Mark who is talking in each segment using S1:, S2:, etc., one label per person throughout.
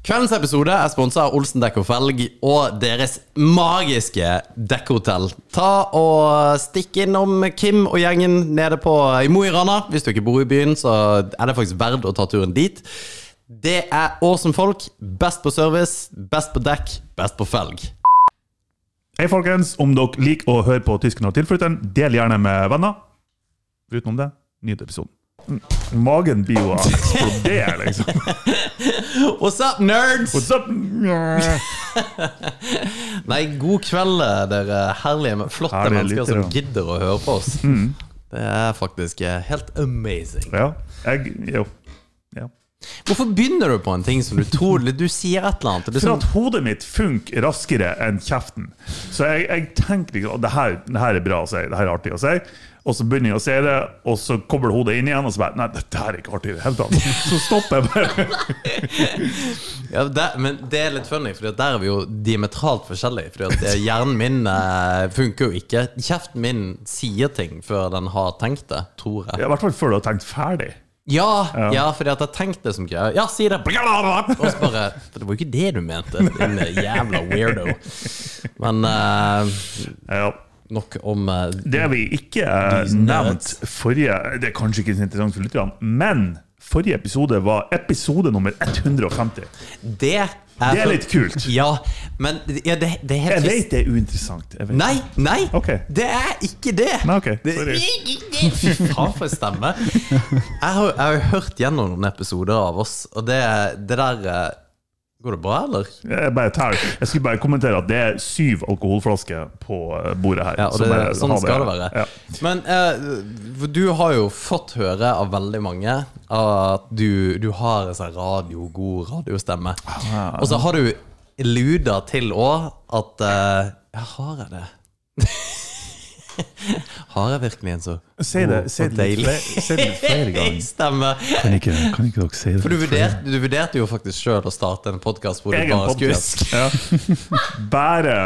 S1: Kveldens episode er sponsa av Olsen Dekk og Felg og deres magiske dekkhotell. Ta og Stikk innom Kim og gjengen nede på i Mo i Rana. Hvis du ikke bor i byen, så er det faktisk verdt å ta turen dit. Det er awesome folk. Best på service, best på dekk, best på felg.
S2: Hei, folkens. Om dere liker å høre på Tysken og tilflytteren, del gjerne med venner. Utenom det, nyt episoden. Mm, Magen blir jo å eksplodere, liksom.
S1: What's up, nerds?
S2: What's up?
S1: Nei, god kveld, eh, dere herlige, men flotte
S2: Herlige
S1: mennesker
S2: lyttere. Mm.
S1: som gidder å høre på oss. Det er faktisk eh, helt amazing.
S2: Ja. Jeg Jo. Ja.
S1: Hvorfor begynner du på en ting som du tror Du sier et eller annet. og Det er
S2: For
S1: sånn,
S2: at hodet mitt funker raskere enn kjeften. Så jeg, jeg tenker liksom at det her, det her er bra å si, det her er artig å si. Og så begynner jeg å si det, og så kommer hodet inn igjen, og så bare Nei, dette her er ikke artig i det hele tatt. Så stopper jeg bare.
S1: ja, det, men det er litt funny, for der er vi jo diametralt forskjellige. For hjernen min eh, funker jo ikke. Kjeften min sier ting før den har tenkt det, tror jeg.
S2: I hvert fall før du har tenkt ferdig.
S1: Ja, ja fordi at jeg tenkte det som greier. Ja, si det! Og så bare For det var jo ikke det du mente, din eh, jævla weirdo. Men eh,
S2: Ja.
S1: nok om eh,
S2: Det vi ikke eh,
S1: Lysende
S2: nevnt forrige Det er kanskje ikke så interessant for lytterne, men forrige episode var episode nummer 150.
S1: Det er,
S2: Det er litt kult.
S1: Ja, men ja, det, det er
S2: Jeg
S1: helt
S2: vet det er uinteressant. Jeg vet.
S1: Nei, nei!
S2: Ok.
S1: Det er ikke det!
S2: Nei, ok.
S1: det
S2: Sorry.
S1: Fy faen, for en stemme. Jeg har, jeg har jo hørt gjennom noen episoder av oss, og det, det der eh, Går det bra, eller?
S2: Jeg, bare tar, jeg skulle bare kommentere at det er syv alkoholflasker på eh, bordet her.
S1: Ja, og
S2: som
S1: det,
S2: jeg
S1: sånn
S2: har
S1: skal det være.
S2: Ja.
S1: Men eh, for du har jo fått høre av veldig mange at du, du har en sånn radio, god radiostemme.
S2: Ah.
S1: Og så har du luda til òg at eh, Ja, har jeg det? har jeg virkelig en så
S2: Si det, si
S1: og
S2: det litt
S1: deilig Sånn
S2: flere- si det litt flere ganger.
S1: stemme?
S2: Kan ikke, kan ikke dere si det?
S1: For du vurderte, du vurderte jo faktisk sjøl å starte en podkast hvor du
S2: Egen
S1: bare skulle
S2: podcast. Ja. Bare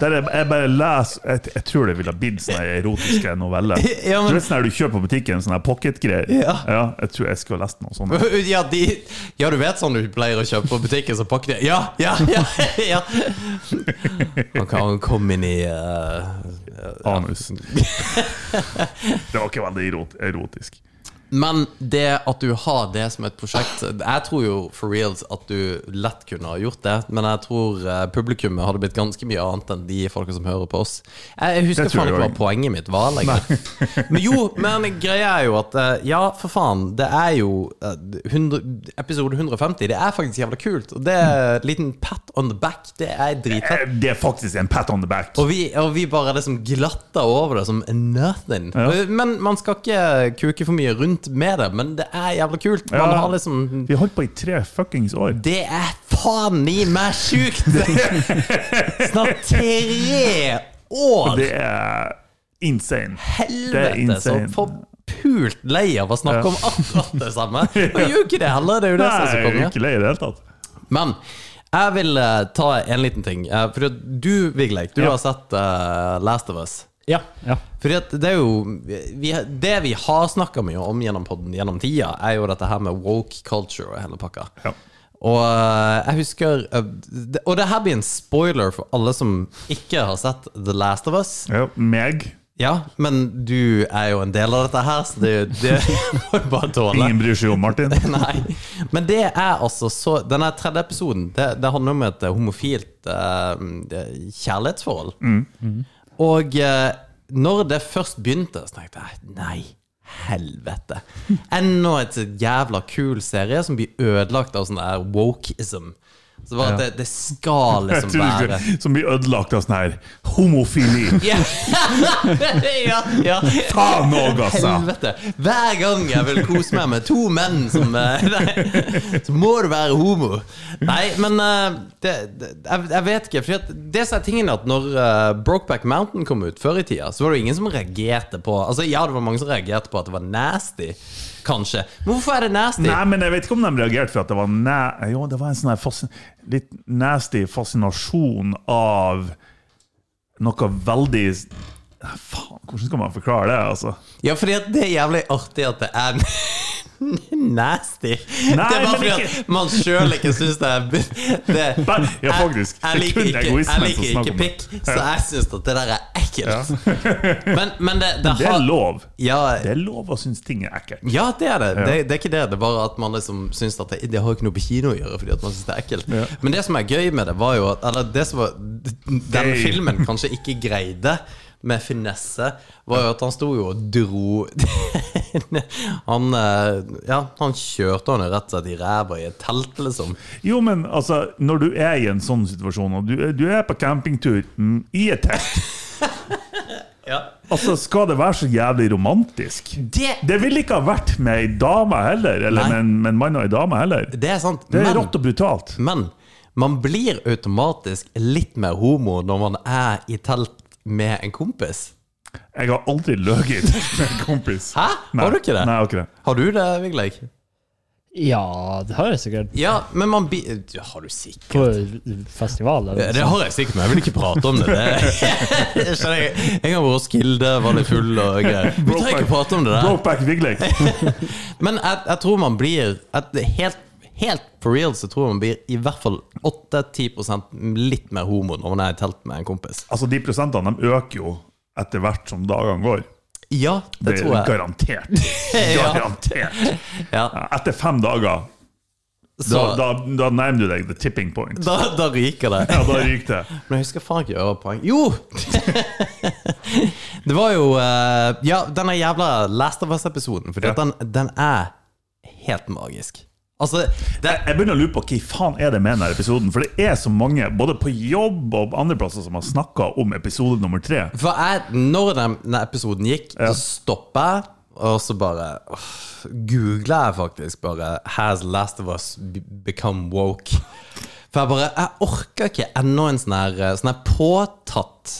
S2: der jeg, jeg bare leser jeg, jeg tror det ville ha blitt sånne erotiske noveller.
S1: Ja, men-
S2: Du vet sånn her du kjøper på butikken, sånne her pocketgreier.
S1: Ja.
S2: jeg tror jeg skulle ha lest noe sånn sånt.
S1: ja, de, ja, du vet sånn du pleier å kjøpe på butikken, så pakker de Ja, ja, ja! ja. Han kan han komme inn i eh,
S2: Anus. Det var ikke veldig erot, erotisk.
S1: Men det at du har det som et prosjekt Jeg tror jo for reals at du lett kunne ha gjort det, men jeg tror eh, publikummet hadde blitt ganske mye annet enn de folka som hører på oss. Jeg jeg husker
S2: Det
S1: faen
S2: tror jeg
S1: ikke hva
S2: også.
S1: poenget mitt var lenger. men jo, men greia er jo at eh, Ja, for faen, det er jo eh, 100, episode 150. Det er faktisk jævla kult. Og det er en liten pat on the back. Det er dritfett.
S2: Eh, Det er faktisk en pat on the back.
S1: Og vi, og vi bare liksom glatter over det som nothing. Men man skal ikke kuke for mye rundt med det, men det er jævla kult. Man
S2: Ja.
S1: har liksom
S2: Vi har holdt på i tre fuckings år.
S1: Det er faen i meg sjukt! Snart tre år!
S2: Det er insane. det er
S1: Helvete, så
S2: insane.
S1: forpult lei av å snakke
S2: Ja.
S1: om akkurat det samme. Og gjør jo ikke det heller, det er jo det som er
S2: Nei,
S1: så
S2: jeg er
S1: konge.
S2: ikke lei i det hele tatt.
S1: Men jeg vil eh, ta en liten ting. eh, For du, Vigleik, du
S2: Ja.
S1: har sett eh, Last of Us.
S3: Ja. ja.
S1: Fordi at det er jo vi, Det vi har snakka mye om gjennom podden gjennom tida, er jo dette her med woke culture og hele pakka.
S2: Ja.
S1: Og øh, jeg husker øh, det- Og det her blir en spoiler for alle som ikke har sett The Last of Us.
S2: Ja, meg.
S1: Ja, men du er jo en del av dette her, så det, det må du bare tåle.
S2: Ingen bryr seg om Martin.
S1: Nei. Men det er altså så Denne tredje episoden Det, det handler om et eh, homofilt eh, kjærlighetsforhold. Og eh, når det først begynte, så tenkte jeg nei, helvete. Enda et jævla kul serie som blir ødelagt av sånn der wokeism. Så bare at det, det skal
S2: Jeg
S1: liksom
S2: tror du
S1: være
S2: skulle- Som blir ødelagt av sånn her homofili.
S1: ja. ja, ja.
S2: Faen òg, altså!
S1: Helvete. Hver gang jeg vil kose meg med to menn som eh, nei, Så må du være homo. Nei, men eh, det, det, jeg, jeg vet ikke. For det som er tingen er at når eh, Brokeback Mountain kom ut før i tida, så var det jo ingen som reagerte på Altså Ja, det var mange som reagerte på at det var nasty, kanskje. Men hvorfor er det nasty?
S2: Nei, men jeg vet ikke om de reagerte for at det var næ Jo, det var en sånn her fascin litt nasty fascinasjon av noe veldig Faen, hvordan skal man forklare det, altså?
S1: Ja, fordi at det er jævlig artig at det er Nasty! det er bare
S2: men
S1: fordi
S2: ikke-
S1: at man sjøl ikke syns det er det,
S2: Bare- ja, faktisk.
S1: Jeg, jeg
S2: Det er
S1: liker
S2: kun
S1: ikke,
S2: egoismen
S1: jeg liker
S2: som snakker
S1: ikke
S2: om
S1: pikk, så jeg syns at det der er ekkelt. Men, men det, det,
S2: Det er
S1: har-
S2: lov.
S1: Ja,
S2: Det er lov å synes ting er ekkelt.
S1: ja, det er det. det. Det er ikke det. Det er bare at man liksom syns at det, det har ikke noe på kino å gjøre, fordi at man syns det er ekkelt. Men det som er gøy med det, var jo at Eller det som var, denne
S2: Gøy.
S1: filmen kanskje ikke greide med finesse, var jo at han sto jo og dro Han eh, Ja, han kjørte henne rett og slett i ræva i et telt, liksom.
S2: Jo, men altså, når du er i en sånn situasjon, og du, du er på campingtur mm, i et telt
S1: Ja.
S2: Altså, Skal det være så jævlig romantisk?
S1: Det,
S2: Det ville ikke ha vært med ei dame heller, eller
S1: Nei.
S2: med en, med en mann og ei dame heller.
S1: det er sant.
S2: Det er
S1: men-
S2: rått og brutalt.
S1: Men man blir automatisk litt mer homo når man er i telt med en kompis.
S2: Jeg har aldri løyet med en kompis.
S1: Hæ? Har du ikke det?
S2: Nei, jeg har ikke det.
S1: Har du det, Vigleik?
S3: Ja, det har jeg sikkert.
S1: Ja, men man bi... Ja, Har du sikkert?
S3: På festival. eller sånn. noe
S1: Det
S3: sånt.
S1: har jeg sikkert, men jeg vil ikke prate om det. det jeg skjønner jeg. En gang var Roskilde, var litt full og greier. Vi trenger ikke prate om det der.
S2: Brokeback Vigleik.
S1: Men jeg, jeg tror man blir at det er helt, helt for real så tror jeg man blir i hvert fall 8-10 litt mer homo når man er i telt med en kompis.
S2: Altså, de prosentene de øker jo etter hvert som dagene går.
S1: Ja, det,
S2: Det er
S1: tror jeg.
S2: garantert.
S1: Ja.
S2: Garantert.
S1: Ja,
S2: Ja, Etter fem dager, da,
S1: så
S2: da, da nærmer du deg the tipping point.
S1: da, da ryker det.
S2: Ja, da ryker det.
S1: Men jeg husker faen ikke ørepoeng. Jo! det var jo eh, Ja, denne jævla Last of Us-episoden. For
S2: Ja.
S1: den, den er helt magisk. Altså det,
S2: Jeg, jeg begynner å lure på hva i faen er det med denne episoden. For det er så mange, både på jobb og på andre plasser, som har snakka om episode nummer tre.
S1: For jeg, når den, den episoden gikk, så stoppa jeg. Og så bare åh, googla jeg faktisk bare 'Has Last of Us be- become woke?' For jeg bare Jeg orker ikke enda en sånn her eh, Sånn her påtatt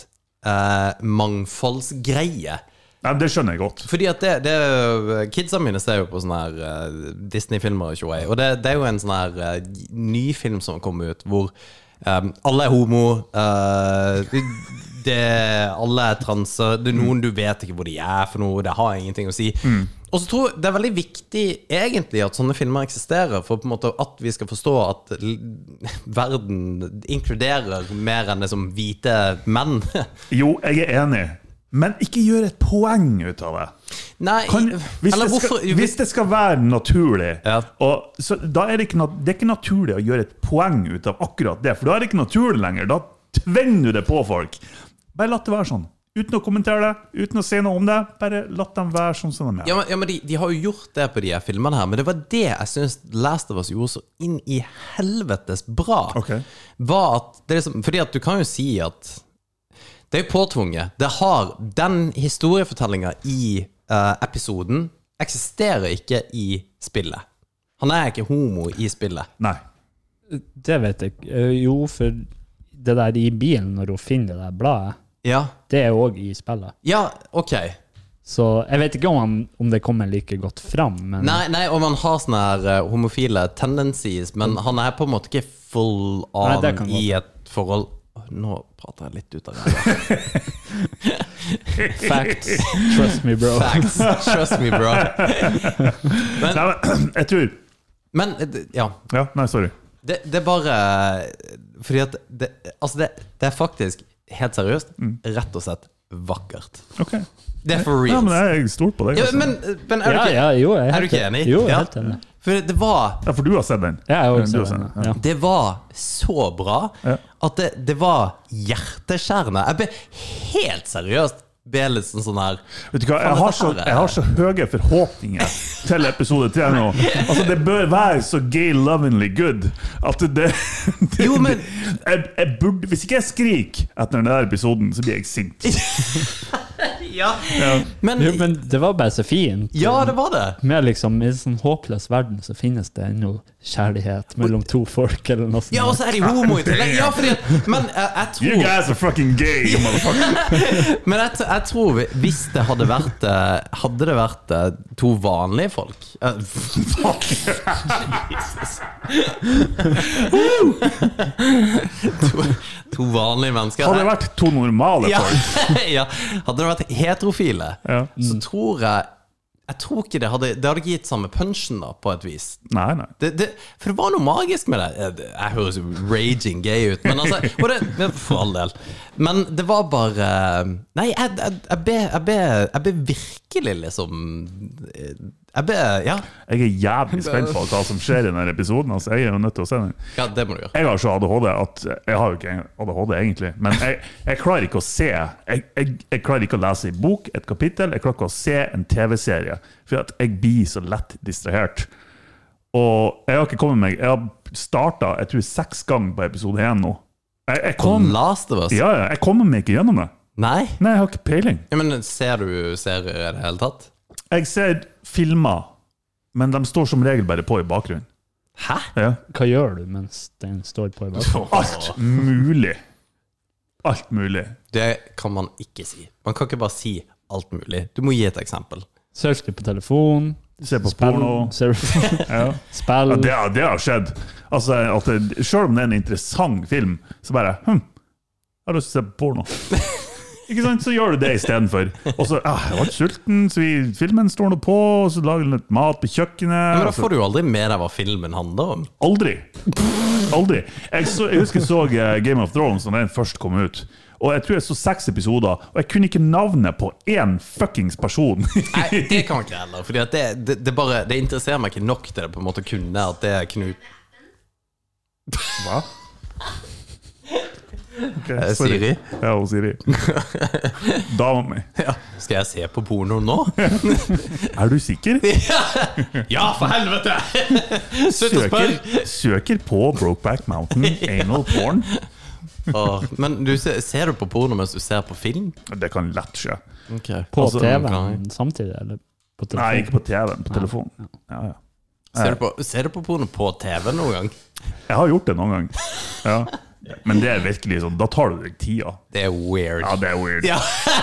S1: eh, mangfoldsgreie.
S2: Nei, men Det skjønner jeg godt.
S1: Fordi at det, det Kidsa mine ser jo på sånne her eh, Disney-filmer og tjoei. Og det, det er jo en sånn her eh, ny film som kom ut, hvor eh, alle er homo. eh, det, alle er transer. Det er noen du vet ikke hvor de er for noe. Det har ingenting å si.
S2: Mm.
S1: Og så tror jeg Det er veldig viktig egentlig at sånne filmer eksisterer, for på en måte at vi skal forstå at l verden inkluderer mer enn liksom hvite menn.
S2: Jo, jeg er enig, men ikke gjør et poeng ut av det.
S1: Nei,
S2: Kan, hvis,
S1: eller
S2: det
S1: hvorfor
S2: skal, hvis det skal være naturlig,
S1: Ja.
S2: og, så, da er det, ikke, nat- det er ikke naturlig å gjøre et poeng ut av akkurat det. For da er det ikke naturlig lenger. Da tvinner du det på folk. Bare la det være sånn. Uten å kommentere det, uten å si noe om det. Bare la dem være sånn som de er.
S1: Ja, men, ja, men de, de har jo gjort det på de her filmene her, men det var det jeg syns Last of Us gjorde så inn i helvetes bra.
S2: Ok.
S1: Var at det er liksom, fordi at du kan jo si at Det er jo påtvunget. Det har Den historiefortellinga i eh, episoden eksisterer ikke i spillet. Han er ikke homo i spillet.
S2: Nei.
S3: Det vet jeg ikke. Eh, Jo, for det der i bilen, når hun finner det der bladet,
S1: Ja,
S3: det er òg i spillet.
S1: ja ok.
S3: Så jeg vet ikke om, han, om det kommer like godt fram, men
S1: Nei, nei, og man har sånne her eh, homofile tendencies, men han er på en måte ikke full
S3: Nei,
S1: on
S3: det kan gå.
S1: i et forhold Åh, Nå prater jeg litt ut av ræva.
S3: facts. Trust me, bro.
S1: Facts. Trust me, bro.
S2: Nei, men, jeg tror
S1: Men eh, ja,
S2: Ja, nei, sorry.
S1: det, det er bare eh, Fordi at det, Altså, det, det er faktisk, helt seriøst, rett og slett vakkert.
S2: Ok.
S1: Det er for
S2: Ja, men
S1: real.
S2: jeg er stolt på deg.
S1: Ja,
S2: altså.
S1: men, eh, men er du
S3: Ja,
S1: ikke,
S3: ja, jo, jeg
S1: er du
S3: helt
S1: ikke enig?
S3: Jo, jeg er
S1: Ja.
S3: helt enig.
S1: For det var
S2: Ja, for du har sett den?
S3: Jeg er
S2: Ja,
S3: jo
S2: du
S3: også
S2: har sett den,
S3: enig. Ja.
S1: Det var så bra at det, det var hjerteskjærende. Jeg ble helt seriøst ble litt sånn sånn her
S2: Vet du hva, jeg
S1: Faen,
S2: har,
S1: dette
S2: så,
S1: her er-
S2: jeg har så høye forhåpninger til episode tre nå. Altså, det bør være så gay lovingly good at det, det
S1: Jo, men-
S2: jeg, jeg burde, Hvis ikke jeg skriker etter den der episoden, så blir jeg sint.
S1: ja. Men,
S3: Jo, men det var bare så fint.
S1: Ja, det var det.
S3: Med liksom, I en sånn håpløs verden så finnes det ennå kjærlighet mellom to folk, eller noe sånt.
S1: Ja, og så er de homo i tillegg. Ja, fordi at Men jeg, jeg
S2: You
S1: tror
S2: guys are fucking gay, you motherfucker!
S1: Men jeg, jeg tror vi- hvis det hadde vært eh, Hadde det vært eh, to vanlige folk eh, to, to vanlige mennesker
S2: Hadde det vært to normale
S1: ja,
S2: folk
S1: ja. Hadde det vært heterofile,
S2: Ja.
S1: så tror jeg Jeg tror ikke det hadde Det hadde ikke gitt samme punchen, da, på et vis.
S2: Nei, nei.
S1: Det, det, for det var noe magisk med det. Eh, det- Jeg høres jo raging gay ut, men altså og det, men For all del. Men det var bare Nei, jeg, jeg, jeg, ble, jeg, ble, jeg ble virkelig liksom eh, Jeg ble Ja,
S2: Jeg er jævlig spent på hva som skjer i denne episoden. Altså, jeg er jo nødt til å se den.
S1: ja det må du gjøre.
S2: Jeg har så ADHD at Jeg har jo ikke ADHD, egentlig. Men jeg, jeg klarer ikke å se jeg, jeg, jeg klarer ikke å lese en bok, et kapittel. Jeg klarer ikke å se en TV-serie. For at jeg blir så lett distrahert. Og jeg har ikke kommet meg Jeg har starta seks ganger på episode én nå. Jeg, jeg, kom,
S1: Last of us?
S2: ja, ja, jeg kommer meg ikke gjennom det.
S1: Nei?
S2: Nei, jeg har ikke peiling.
S1: Ja, men ser du serier i det hele tatt?
S2: Jeg ser filmer, men de står som regel bare på i bakgrunnen.
S1: Hæ?
S2: Ja.
S3: Hva gjør du mens den står på i bakgrunnen?
S2: Alt mulig. Alt mulig.
S1: Det kan man ikke si. Man kan ikke bare si alt mulig. Du må gi et eksempel.
S3: Surfer du på telefon?
S2: Se på
S3: Spill-
S2: porno.
S3: surf-
S2: Ja.
S3: Spill?
S2: Ja, det,
S1: Mm.
S2: har- det har skjedd. Altså, at det, selv om det er en interessant film, så bare hm, Jeg har lyst til å se på porno. Ikke sant? Så gjør du det istedenfor. Og så ah, Jeg ble sulten, så vi, filmen står nå på, og så lager du litt mat på kjøkkenet.
S1: Men da
S2: og så-
S1: får du jo aldri med deg hva filmen handler om.
S2: Aldri. Aldri. Jeg, så, jeg husker jeg så eh, Game of Thrones da den først kom ut. Og jeg tror jeg så seks episoder, og jeg kunne ikke navnet på én fuckings person.
S1: Nei, det kan man ikke heller. Fordi at det, det, det bare Det interesserer meg ikke nok til det på en måte å kunne at det er Knut
S2: Hva? Okay,
S1: Eh,
S2: sorry.
S1: Siri?
S2: Ja, hun Siri. Dama mi.
S1: Skal jeg se på porno nå?
S2: Er du sikker?
S1: Ja, for helvete! Slutt å
S2: Søker,
S1: spørre!
S2: søker på Brokeback Mountain, anal porn.
S1: Åh, Men du, ser, ser du på porno mens du ser på film?
S2: Det kan lett skje.
S3: På
S2: Altså,
S1: kan-
S3: TV-en samtidig, eller?
S2: Nei,
S3: På telefonen?
S2: ikke på TV-en, på telefonen. Ja, ja.
S1: Ser du på, ser du på porno på TV noen gang?
S2: Jeg har gjort det noen gang. Ja. Men det er virkelig sånn, da tar du deg tida.
S1: Det er weird.
S2: Ja, det er weird.
S1: Ja.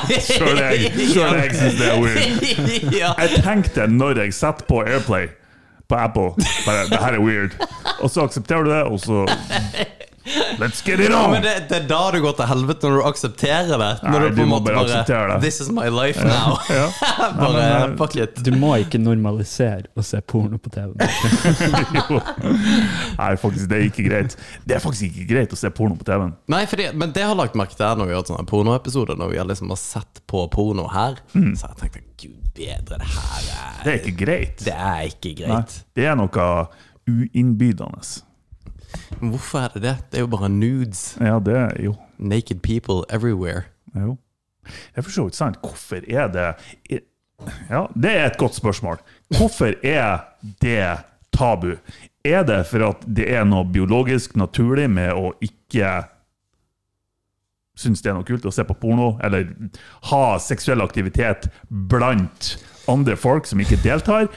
S2: Sjøl jeg, selv jeg syns det er weird.
S1: ja.
S2: Jeg tenkte når jeg setter på Airplay på Apple bare, Det her er weird. Og så aksepterer du det, og så Let's get it
S1: Ja,
S2: on!
S1: men det, det er da du går til helvete, når du aksepterer det. Når du
S2: Nei, du
S1: på en
S2: må
S1: måte
S2: bare
S1: bare,
S2: akseptere det.
S1: This is my life now.
S2: Ja.
S1: bare
S2: Nei, men, eh,
S1: fuck it.
S3: Du må ikke normalisere å se porno på TV.
S2: Jo. Nei, faktisk, det er ikke greit. Det er faktisk ikke greit å se porno på TV-en.
S1: Nei, fordi, men det har jeg lagt merke til når vi har hatt sånne pornoepisoder, når vi har liksom har sett på porno her.
S2: Mm.
S1: Så har jeg tenkt gud bedre, det her er
S2: Det er ikke greit.
S1: Det er ikke
S2: Nei,
S1: greit.
S2: det er noe uinnbydende.
S1: Men hvorfor er det det? Det er jo bare nudes.
S2: Ja, det er jo
S1: Naked people everywhere.
S2: Jo. Det er for så vidt sant. Hvorfor er det Ja, det er et godt spørsmål. Hvorfor er det tabu? Er det for at det er noe biologisk naturlig med å ikke synes det er noe kult å se på porno, eller ha seksuell aktivitet blant andre folk som ikke deltar?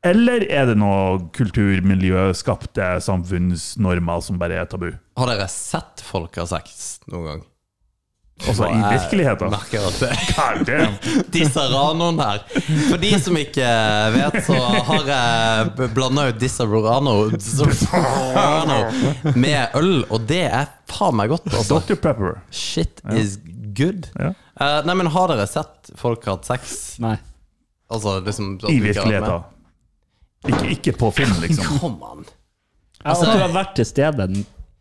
S2: Eller er det noe kulturmiljøskapte samfunnsnormer som bare er tabu?
S1: Har dere sett folk ha sex noen gang?
S2: Altså i
S1: Jeg
S2: virkeligheten?
S1: Merker at det
S2: God damn!
S1: Disaranoen her. For de som ikke eh, vet, så har jeg blanda ut Disarano Disarano med øl, og det er faen meg godt, altså.
S2: Dr. Pepper.
S1: Shit is good.
S2: Ja.
S1: Eh, nei, men har dere sett folk hatt sex?
S3: Nei.
S1: Altså liksom at
S2: I
S1: du ikke har vært med?
S2: virkeligheten. Ikke, ikke på film, liksom.
S1: Kom an.
S3: Jeg altså, du har vært til stede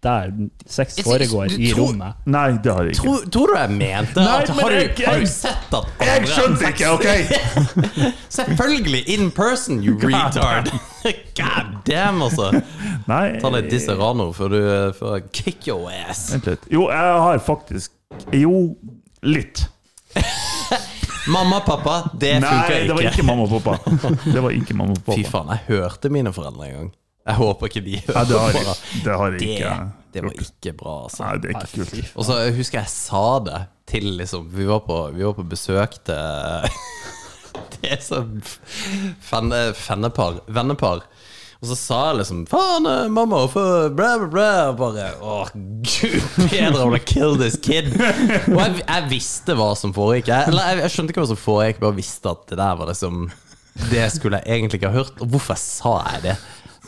S3: der sex
S1: Jeg synes-
S3: foregår,
S1: du
S3: i
S1: tror-
S3: rommet.
S2: Nei, det har jeg ikke.
S1: Tror, tror du jeg mente
S2: Nei,
S1: at
S2: men
S1: har,
S2: jeg-
S1: du, har
S2: jeg-
S1: du sett at
S2: Jeg
S1: andre har
S2: skjønte
S1: sex?
S2: ikke, OK?
S1: Selvfølgelig! In person, you retard! God damn, altså.
S2: Nei,
S1: Ta litt Disarano før du eh, før jeg kick your ass.
S2: vent litt. Jo, jeg har faktisk Jo, litt.
S1: Mamma, pappa, det
S2: Nei, det
S1: funker
S2: var
S1: ikke.
S2: ikke mamma og pappa. Det var ikke mamma og
S1: Fy
S2: pappa.
S1: faen, jeg hørte mine foreldre en gang. Jeg håper ikke de
S2: Nei,
S1: hører
S2: det har
S1: på.
S2: jeg, det har jeg
S1: Det,
S2: ikke.
S1: det var ikke bra, altså.
S2: Nei, det er ikke kult.
S1: Og så husker jeg sa det til liksom Vi var på, vi var på besøk til Det er så fenne, fennepar. Vennepar. Og så sa jeg liksom Faen, eh, mamma, for bla, bla, bla. Og bare Å, gud bedre, I'm gonna kill this kid. Og jeg, jeg visste hva som foregikk. Jeg, eller jeg, jeg skjønte ikke hva som foregikk, bare visste at det der var liksom Det skulle jeg egentlig ikke ha hørt. Og hvorfor sa jeg det?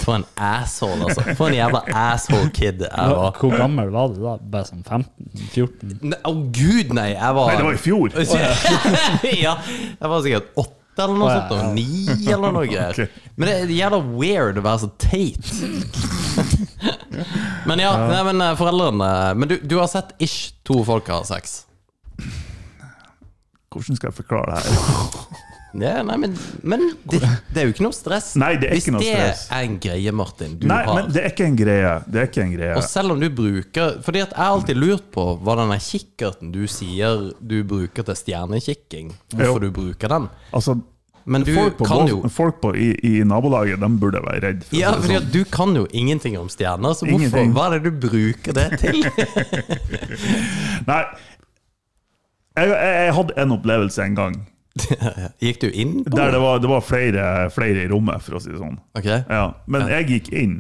S1: For en asshole, altså. For en jævla asshole kid jeg var.
S3: Hvor gammel var du da? Bare sånn 15-14?
S1: Nei, Å gud, nei! Jeg var
S2: Nei, det var i fjor.
S1: ja, jeg var sikkert åtte åtte eller noe
S3: Å, ja,
S1: sånt.
S3: ja.
S1: Og ni eller noe greier.
S2: Ok.
S1: Men det er jævla weird å være så teit. men ja, Nei, men eh, foreldrene Men du, du har sett ish to folk har sex?
S2: Hvordan skal jeg forklare det her?
S1: Ja, nei, men, men det, det er jo ikke noe stress.
S2: Nei, det er ikke noe
S1: Hvis
S2: stress.
S1: det er en greie, Martin, du
S2: Nei,
S1: har
S2: men det er ikke en greie. Det er ikke en greie.
S1: Og selv om du bruker Fordi at jeg har alltid lurt på hva denne kikkerten du sier du bruker til stjernekikking, hvorfor
S2: Jo.
S1: du bruker den.
S2: Altså,
S1: Men du
S2: folk på,
S1: kan
S2: Bos-
S1: jo
S2: folk på, i, i nabolaget de burde være redd. For å
S1: Ja,
S2: si det
S1: fordi
S2: sånn.
S1: at du kan jo ingenting om stjerner, så hvorfor,
S2: Ingenting.
S1: hva er det du bruker det til?
S2: Nei, jeg, jeg, jeg hadde en opplevelse en gang.
S1: Gikk du inn på
S2: Der det var, det var flere, flere i rommet, for å si det sånn.
S1: Ok,
S2: Ja, men jeg gikk inn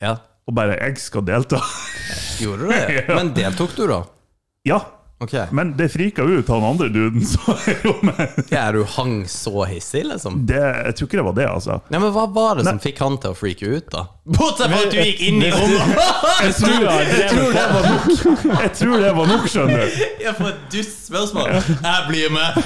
S1: ja.
S2: og bare 'Jeg skal delta'.
S1: Gjorde du det?
S2: Ja.
S1: Men deltok du, da?
S2: ja,
S1: Ok.
S2: men det frika ut han andre duden som var i rommet.
S1: Ja, du hang så hissig, liksom?
S2: Det, jeg tror ikke det var det, altså.
S1: Nei, men Hva var det som fikk han til å freake ut, da? Bortsett fra at du gikk inn i rommet!
S2: Jeg tror, jeg tror det var nok, jeg tror det var nok skjønner du.
S1: Jeg får et dust spørsmål. Jeg blir med!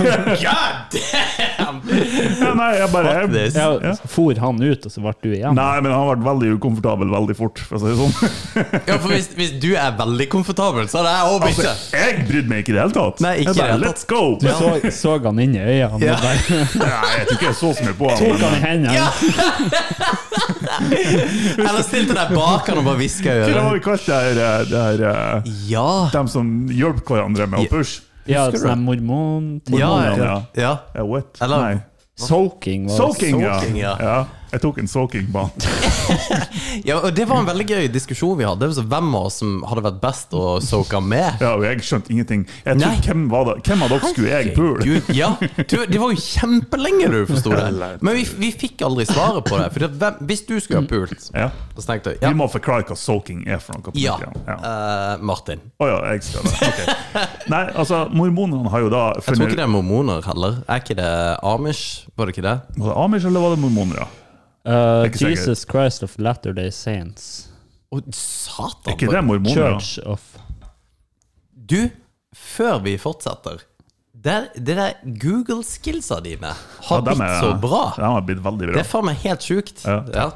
S1: God damn!
S2: Ja, nei, jeg bare
S1: Fuck
S2: jeg,
S1: this.
S3: Ja,
S2: Ja.
S3: For han ut, og så ble du igjen?
S2: Nei, men han ble veldig ukomfortabel veldig fort, for å si det sånn.
S1: Ja, for hvis, hvis du er veldig komfortabel, så er det jeg òg
S2: Altså,
S1: ikke.
S2: jeg brydde meg ikke i det hele tatt.
S1: Nei, ikke i
S2: jeg
S1: det
S2: bare,
S1: hele tatt.
S2: Let's go!
S3: Du så, så han inn i øynene
S1: Ja.
S3: og bare
S2: Nei, jeg tror ikke jeg så så mye på han.
S3: tok han i hendene.
S1: Ja. Eller stilte deg bak han og bare hviska i
S2: Hva var
S1: øret.
S2: vi kalt det her, eh, det her eh,
S1: Ja.
S2: Dem som hjelper hverandre med å pushe?
S3: Ja,
S1: Husker du
S3: sånn mormon...
S1: Ja,
S2: Hormonene,
S1: ja.
S2: ja.
S1: ja.
S2: Ja, Eh, what?
S1: Eller-
S2: Nei.
S3: Soaking. Var
S2: Soaking, ja.
S1: Soaking, ja.
S2: ja. Jeg tok en soaking på han.
S1: ja, og Det var en veldig gøy diskusjon vi hadde. Så hvem av oss som hadde vært best å soke med?
S2: Ja, og jeg skjønte ingenting. Jeg
S1: Nei.
S2: tror, hvem, var det? hvem av dere skulle jeg pule?
S1: Gud, ja, du, Det var jo kjempelenge du forsto det. Men vi, vi fikk aldri svaret på det. For det, hvem, hvis du skulle ha pult,
S2: Mm. Ja.
S1: så tenkte jeg
S2: Vi
S1: ja,
S2: må forklare hva soaking er for noe. på
S1: ja,
S2: nytt igjen. ja.
S1: eh, Martin.
S2: Å ja, jeg skal det. Ok. Nei, altså, mormonene har jo da
S1: Jeg tror ikke
S2: funnet
S1: det er mormoner heller. Er ikke det Amish? Var det ikke det?
S2: Var det Amish eller var det mormoner? ja?
S3: Uh,
S2: ikke sikkert.
S3: Jesus Christ of Latter-day Saints.
S1: Å, satan!
S2: Er ikke det mormoner?
S3: Church of
S1: Du, før vi fortsetter Det, det der Google-skillsa dine har
S2: dem
S1: blitt så bra.
S2: De har blitt veldig
S1: Det
S2: bra.
S1: er faen meg helt sjukt.
S2: Ja,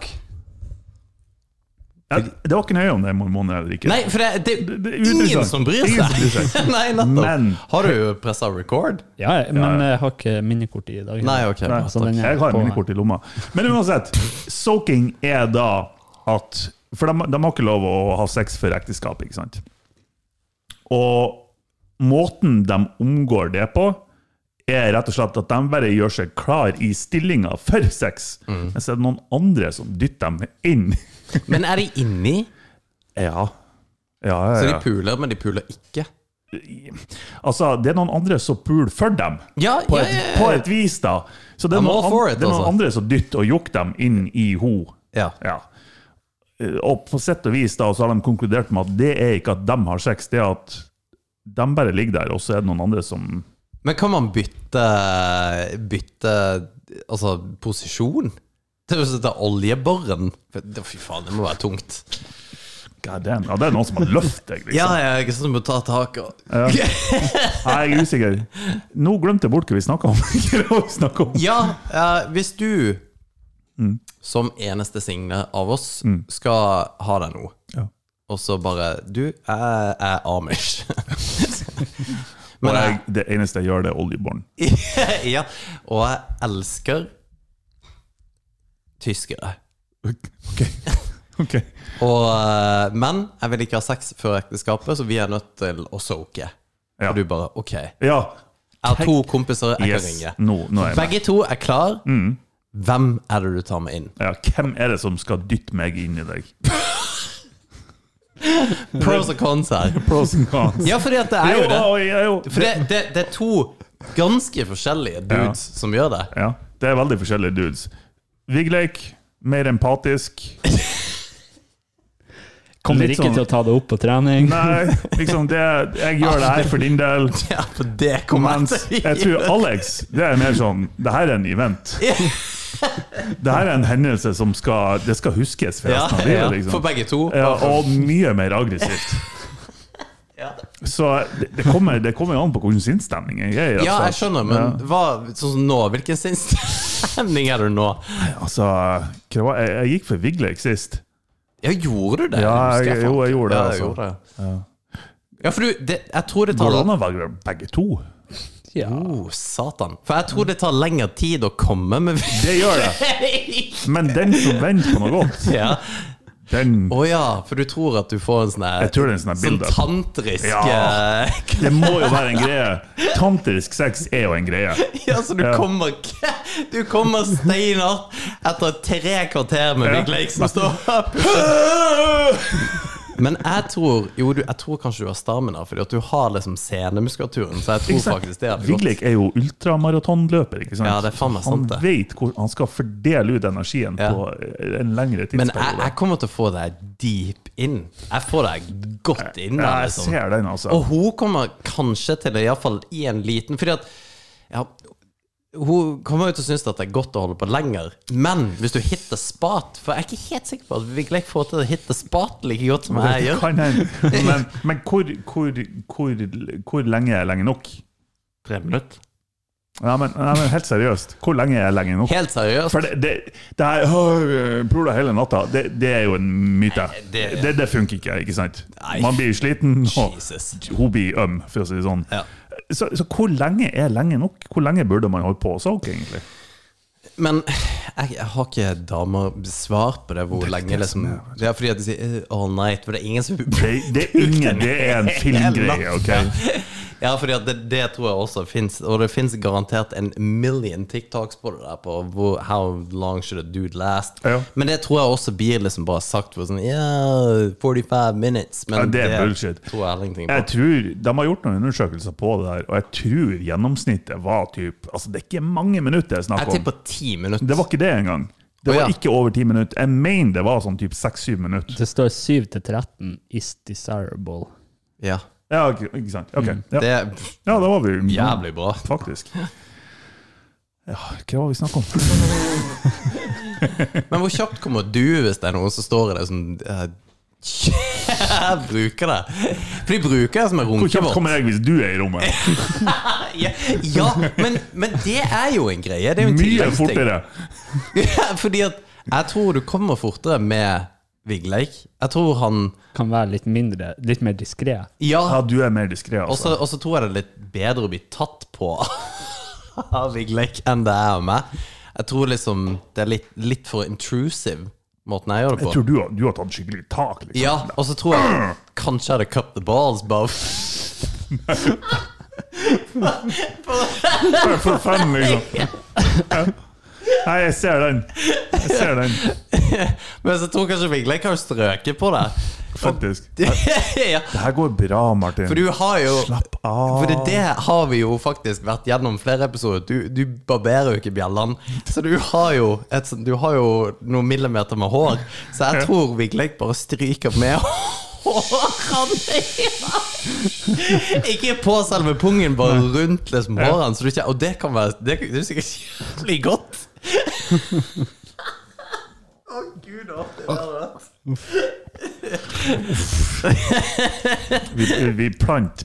S2: Ja, Det var ikke nøye om det er mormoner eller ikke.
S1: Nei, for det, det,
S2: Det- det er
S1: er ingen
S2: uinteressant.
S1: som bryr
S2: Ingen som bryr
S1: seg! Nei, nettopp.
S2: Men-
S1: Har du pressa record?
S3: Ja, ja, men jeg har ikke minnekortet i dag.
S1: Nei, ok.
S2: Nei,
S1: bra,
S3: så Altså, den
S1: takk.
S3: er-
S2: Jeg har
S3: på-
S2: minnekort i lomma. Men uansett, soaking er da at For de, de har ikke lov å ha sex før ekteskap, ikke sant? Og måten de omgår det på, er rett og slett at de bare gjør seg klar i stillinga for sex.
S1: Mm.
S2: Men så er det noen andre som dytter dem inn.
S1: Men er de inni?
S2: Ja. Ja,
S1: Så
S2: ja,
S1: de
S2: ja.
S1: puler, men de puler ikke?
S2: Altså, det er noen andre som puler for dem.
S1: Ja,
S2: på
S1: ja,
S2: et,
S1: ja, ja.
S2: på et vis, da. Så det er
S1: I'm
S2: noen,
S1: all for
S2: an,
S1: it,
S2: det er noen
S1: altså.
S2: andre som dytter og jukker dem inn i ho.
S1: Ja.
S2: Ja. Eh, Og på sett og vis da, så har de konkludert med at det er ikke at de har sex, det er at de bare ligger der, og så er det noen andre som
S1: Men kan man bytte Bytte altså posisjon? Til å sette oljeborren? For- Fy faen, det må være tungt.
S2: God damn, ja, det er noen som har løft deg, liksom.
S1: Ja, ja, ikke sånn at du må ta tak og
S2: Nei, jeg er usikker. Nå glemte jeg bort hva vi snakka om. Hva var det vi snakket om.
S1: Ja, eh, hvis du
S2: Mm.
S1: som eneste signe av oss skal ha deg nå,
S2: Ja.
S1: og så bare Du, jeg er amish.
S2: Og
S1: Men
S2: jeg, det eneste jeg gjør, det er oljeborn.
S1: jeg, ja, og jeg elsker tyskere.
S2: Ok. Ok.
S1: Og, eh, men jeg vil ikke ha sex før ekteskapet, så vi er nødt til å soke.
S2: Ja.
S1: Og du bare OK. Jeg
S2: Ja.
S1: har to kompiser jeg
S2: Yes. Mm.
S1: kan ringe.
S2: Nå, nå er jeg med.
S1: Begge to er klar. Hvem er det du tar med inn?
S2: Ja, hvem er det som skal dytte meg inn i deg?
S1: Pros og cons her.
S2: Pros and cons.
S1: Ja, fordi at det er jo det.
S2: Jo, jo, jo.
S1: For det, det, det er to ganske forskjellige dudes som gjør det.
S2: Ja, det er veldig forskjellige dudes. Vigleik, mer empatisk.
S3: Kommer
S2: Litt
S3: ikke
S2: sånn-
S3: til å ta det opp på trening.
S2: Nei, liksom det Jeg gjør det her for din del.
S1: Ja, for det kommer
S2: Mens
S1: jeg
S2: jeg
S1: til å
S2: tror Alex det er mer sånn Det her er en event. Det her er en hendelse som skal Det skal huskes for
S1: Ja,
S2: resten av liksom.
S1: ja,
S2: livet. Liksom.
S1: for begge to.
S2: Ja, og mye mer aggressivt. Så det, det, kommer, det kommer jo an på hvilken sinnsstemning jeg er i.
S1: Ja,
S2: altså.
S1: jeg skjønner, men hva, sånn som nå, hvilken sinnsstemning er du nå?
S2: Altså, hva var, jeg, jeg gikk for Vigleik sist.
S1: Ja, gjorde du det?
S2: Ja,
S1: Husker
S2: jeg-
S1: faen
S2: jo, jeg
S1: ikke.
S2: gjorde det,
S1: Ja, jeg
S2: altså.
S1: gjorde det. Ja, for du, det, jeg tror det
S2: Går
S1: tar
S2: det an å velge begge to?
S3: Ja.
S1: Oh, satan. For jeg tror det tar lengre tid å komme med
S2: Det gjør det. Men den som venter på noe godt,
S1: Ja.
S2: den
S1: Å ja, for du tror at du får en sånn her-
S2: Jeg tror det er en sånn her build-up.
S1: tantrisk
S2: Ja.
S1: eh,
S2: Det må jo være en greie. Tantrisk sex er jo en greie.
S1: Ja, så du
S2: Ja.
S1: kommer Du kommer steinhardt etter tre kvarter med Big Lake som står og pusher. Men jeg tror Jo, du, jeg tror kanskje du har stamina, fordi at du har liksom senemuskulaturen. Så jeg tror faktisk det hadde gått.
S2: Vigleik er jo ultramaratonløper. ikke sant?
S1: Ja, det er faen meg sant, det.
S2: Han vet hvor han skal fordele ut energien
S1: Ja.
S2: på eh, en lengre
S1: Men jeg,
S2: tidsperiode.
S1: jeg kommer til å få deg deep in. Jeg får deg godt inn
S2: Ja,
S1: der.
S2: jeg
S1: Liksom.
S2: ser den, altså.
S1: Og hun kommer kanskje til det, iallfall i en liten Fordi at ja, hun kommer jo til å synes at det er godt å holde på lenger, men hvis du hitter spat For jeg er ikke helt sikker på at vi ikke får til å hitte spat like godt som jeg
S2: Det
S1: gjør.
S2: kan hende. Men, men hvor, hvor, hvor, hvor lenge er lenge nok?
S1: Tre minutter.
S2: Ja, men, nei, men Helt seriøst, hvor lenge er lenge nok?
S1: Helt seriøst.
S2: For det, det, det her «Åh, Prola hele natta, det, det er jo en myte. Det,
S1: det-
S2: det, funker ikke, ikke sant?
S1: Nei.
S2: Man blir sliten, og
S1: Jesus.
S2: hun blir øm, for å si det sånn.
S1: Ja.
S2: Så, så hvor lenge er lenge nok? Hvor lenge burde man holde på å soke, egentlig?
S1: Men jeg, jeg har ikke damer svar på det, hvor lenge liksom Det er fordi at de sier eh, all night, for det er ingen som
S2: Det, det, er, ingen, det er en filmgreie, OK?
S1: Ja, fordi at det, det tror jeg også fins. Og det fins garantert en million TikToks på det der på hvor, How long should a dude last?
S2: Ja.
S1: Men det tror jeg også blir liksom bare sagt for sånn Yeah, 45 minutes. Men
S2: Ja, det er bullshit.
S1: tror jeg heller ingenting
S2: Jeg
S1: på.
S2: tror, De har gjort noen undersøkelser på det der, og jeg tror gjennomsnittet var typ Altså, det er ikke mange minutter det er snakk
S1: Jeg
S2: om.
S1: tipper ti minutter.
S2: Det var ikke det engang.
S1: Å,
S2: Det
S1: ja.
S2: var ikke over ti minutter. Jeg mener det var sånn typ seks-syv minutter.
S3: Det står 7 til 13 is desirable.
S1: Ja.
S2: Ja, ok, ikke sant. Ok, ja.
S1: Mm. Det
S2: ja,
S1: er
S2: da var vi
S1: jævlig bra.
S2: Faktisk. Ja, hva var vi snakka om?
S1: Men hvor kjapt kommer du hvis det er noen som står i det sånn eh, Jeg bruker det. For de bruker det som en
S2: Hvor kjapt
S1: runkebåt.
S2: kommer jeg hvis du er i rommet?
S1: Ja, ja men, men det er jo en greie. Det er jo en
S2: Mye
S1: tilleggsting.
S2: fortere!
S1: Ja, fordi at jeg tror du kommer fortere med Vigleik. Jeg tror han
S3: Kan være litt mindre, litt mer diskré.
S2: Ja,
S1: Ja.
S2: du er mer diskré,
S1: Og
S2: altså.
S1: så og så tror jeg det er litt bedre å bli tatt på av Vigleik enn det er av meg. Jeg tror liksom det er litt, litt for intrusive, måten jeg gjør det
S2: Jeg
S1: på.
S2: tror du har, du har tatt skikkelig tak, liksom.
S1: Ja, og så tror jeg kanskje jeg hadde cut the balls, bare
S2: For, for fem, liksom. Ja. Nei, jeg ser den. Jeg ser den,
S1: Men så tror jeg kanskje Vigleik har strøket på det.
S2: faktisk.
S1: ja,
S2: Det her går bra, Martin.
S1: for du har jo
S2: Slapp av.
S1: For det, det har vi jo faktisk vært gjennom flere episoder. Du, du barberer jo ikke bjellene. Så du har jo, et, sånt- du har jo noen millimeter med hår. Så jeg tror Vigleik bare stryker med hårene. Ikke på selve pungen, bare rundt liksom hårene. Så du ikke, og det kan være Det, det er sikkert jævlig godt. Å, gud, det er rett.
S2: Vi, vi plant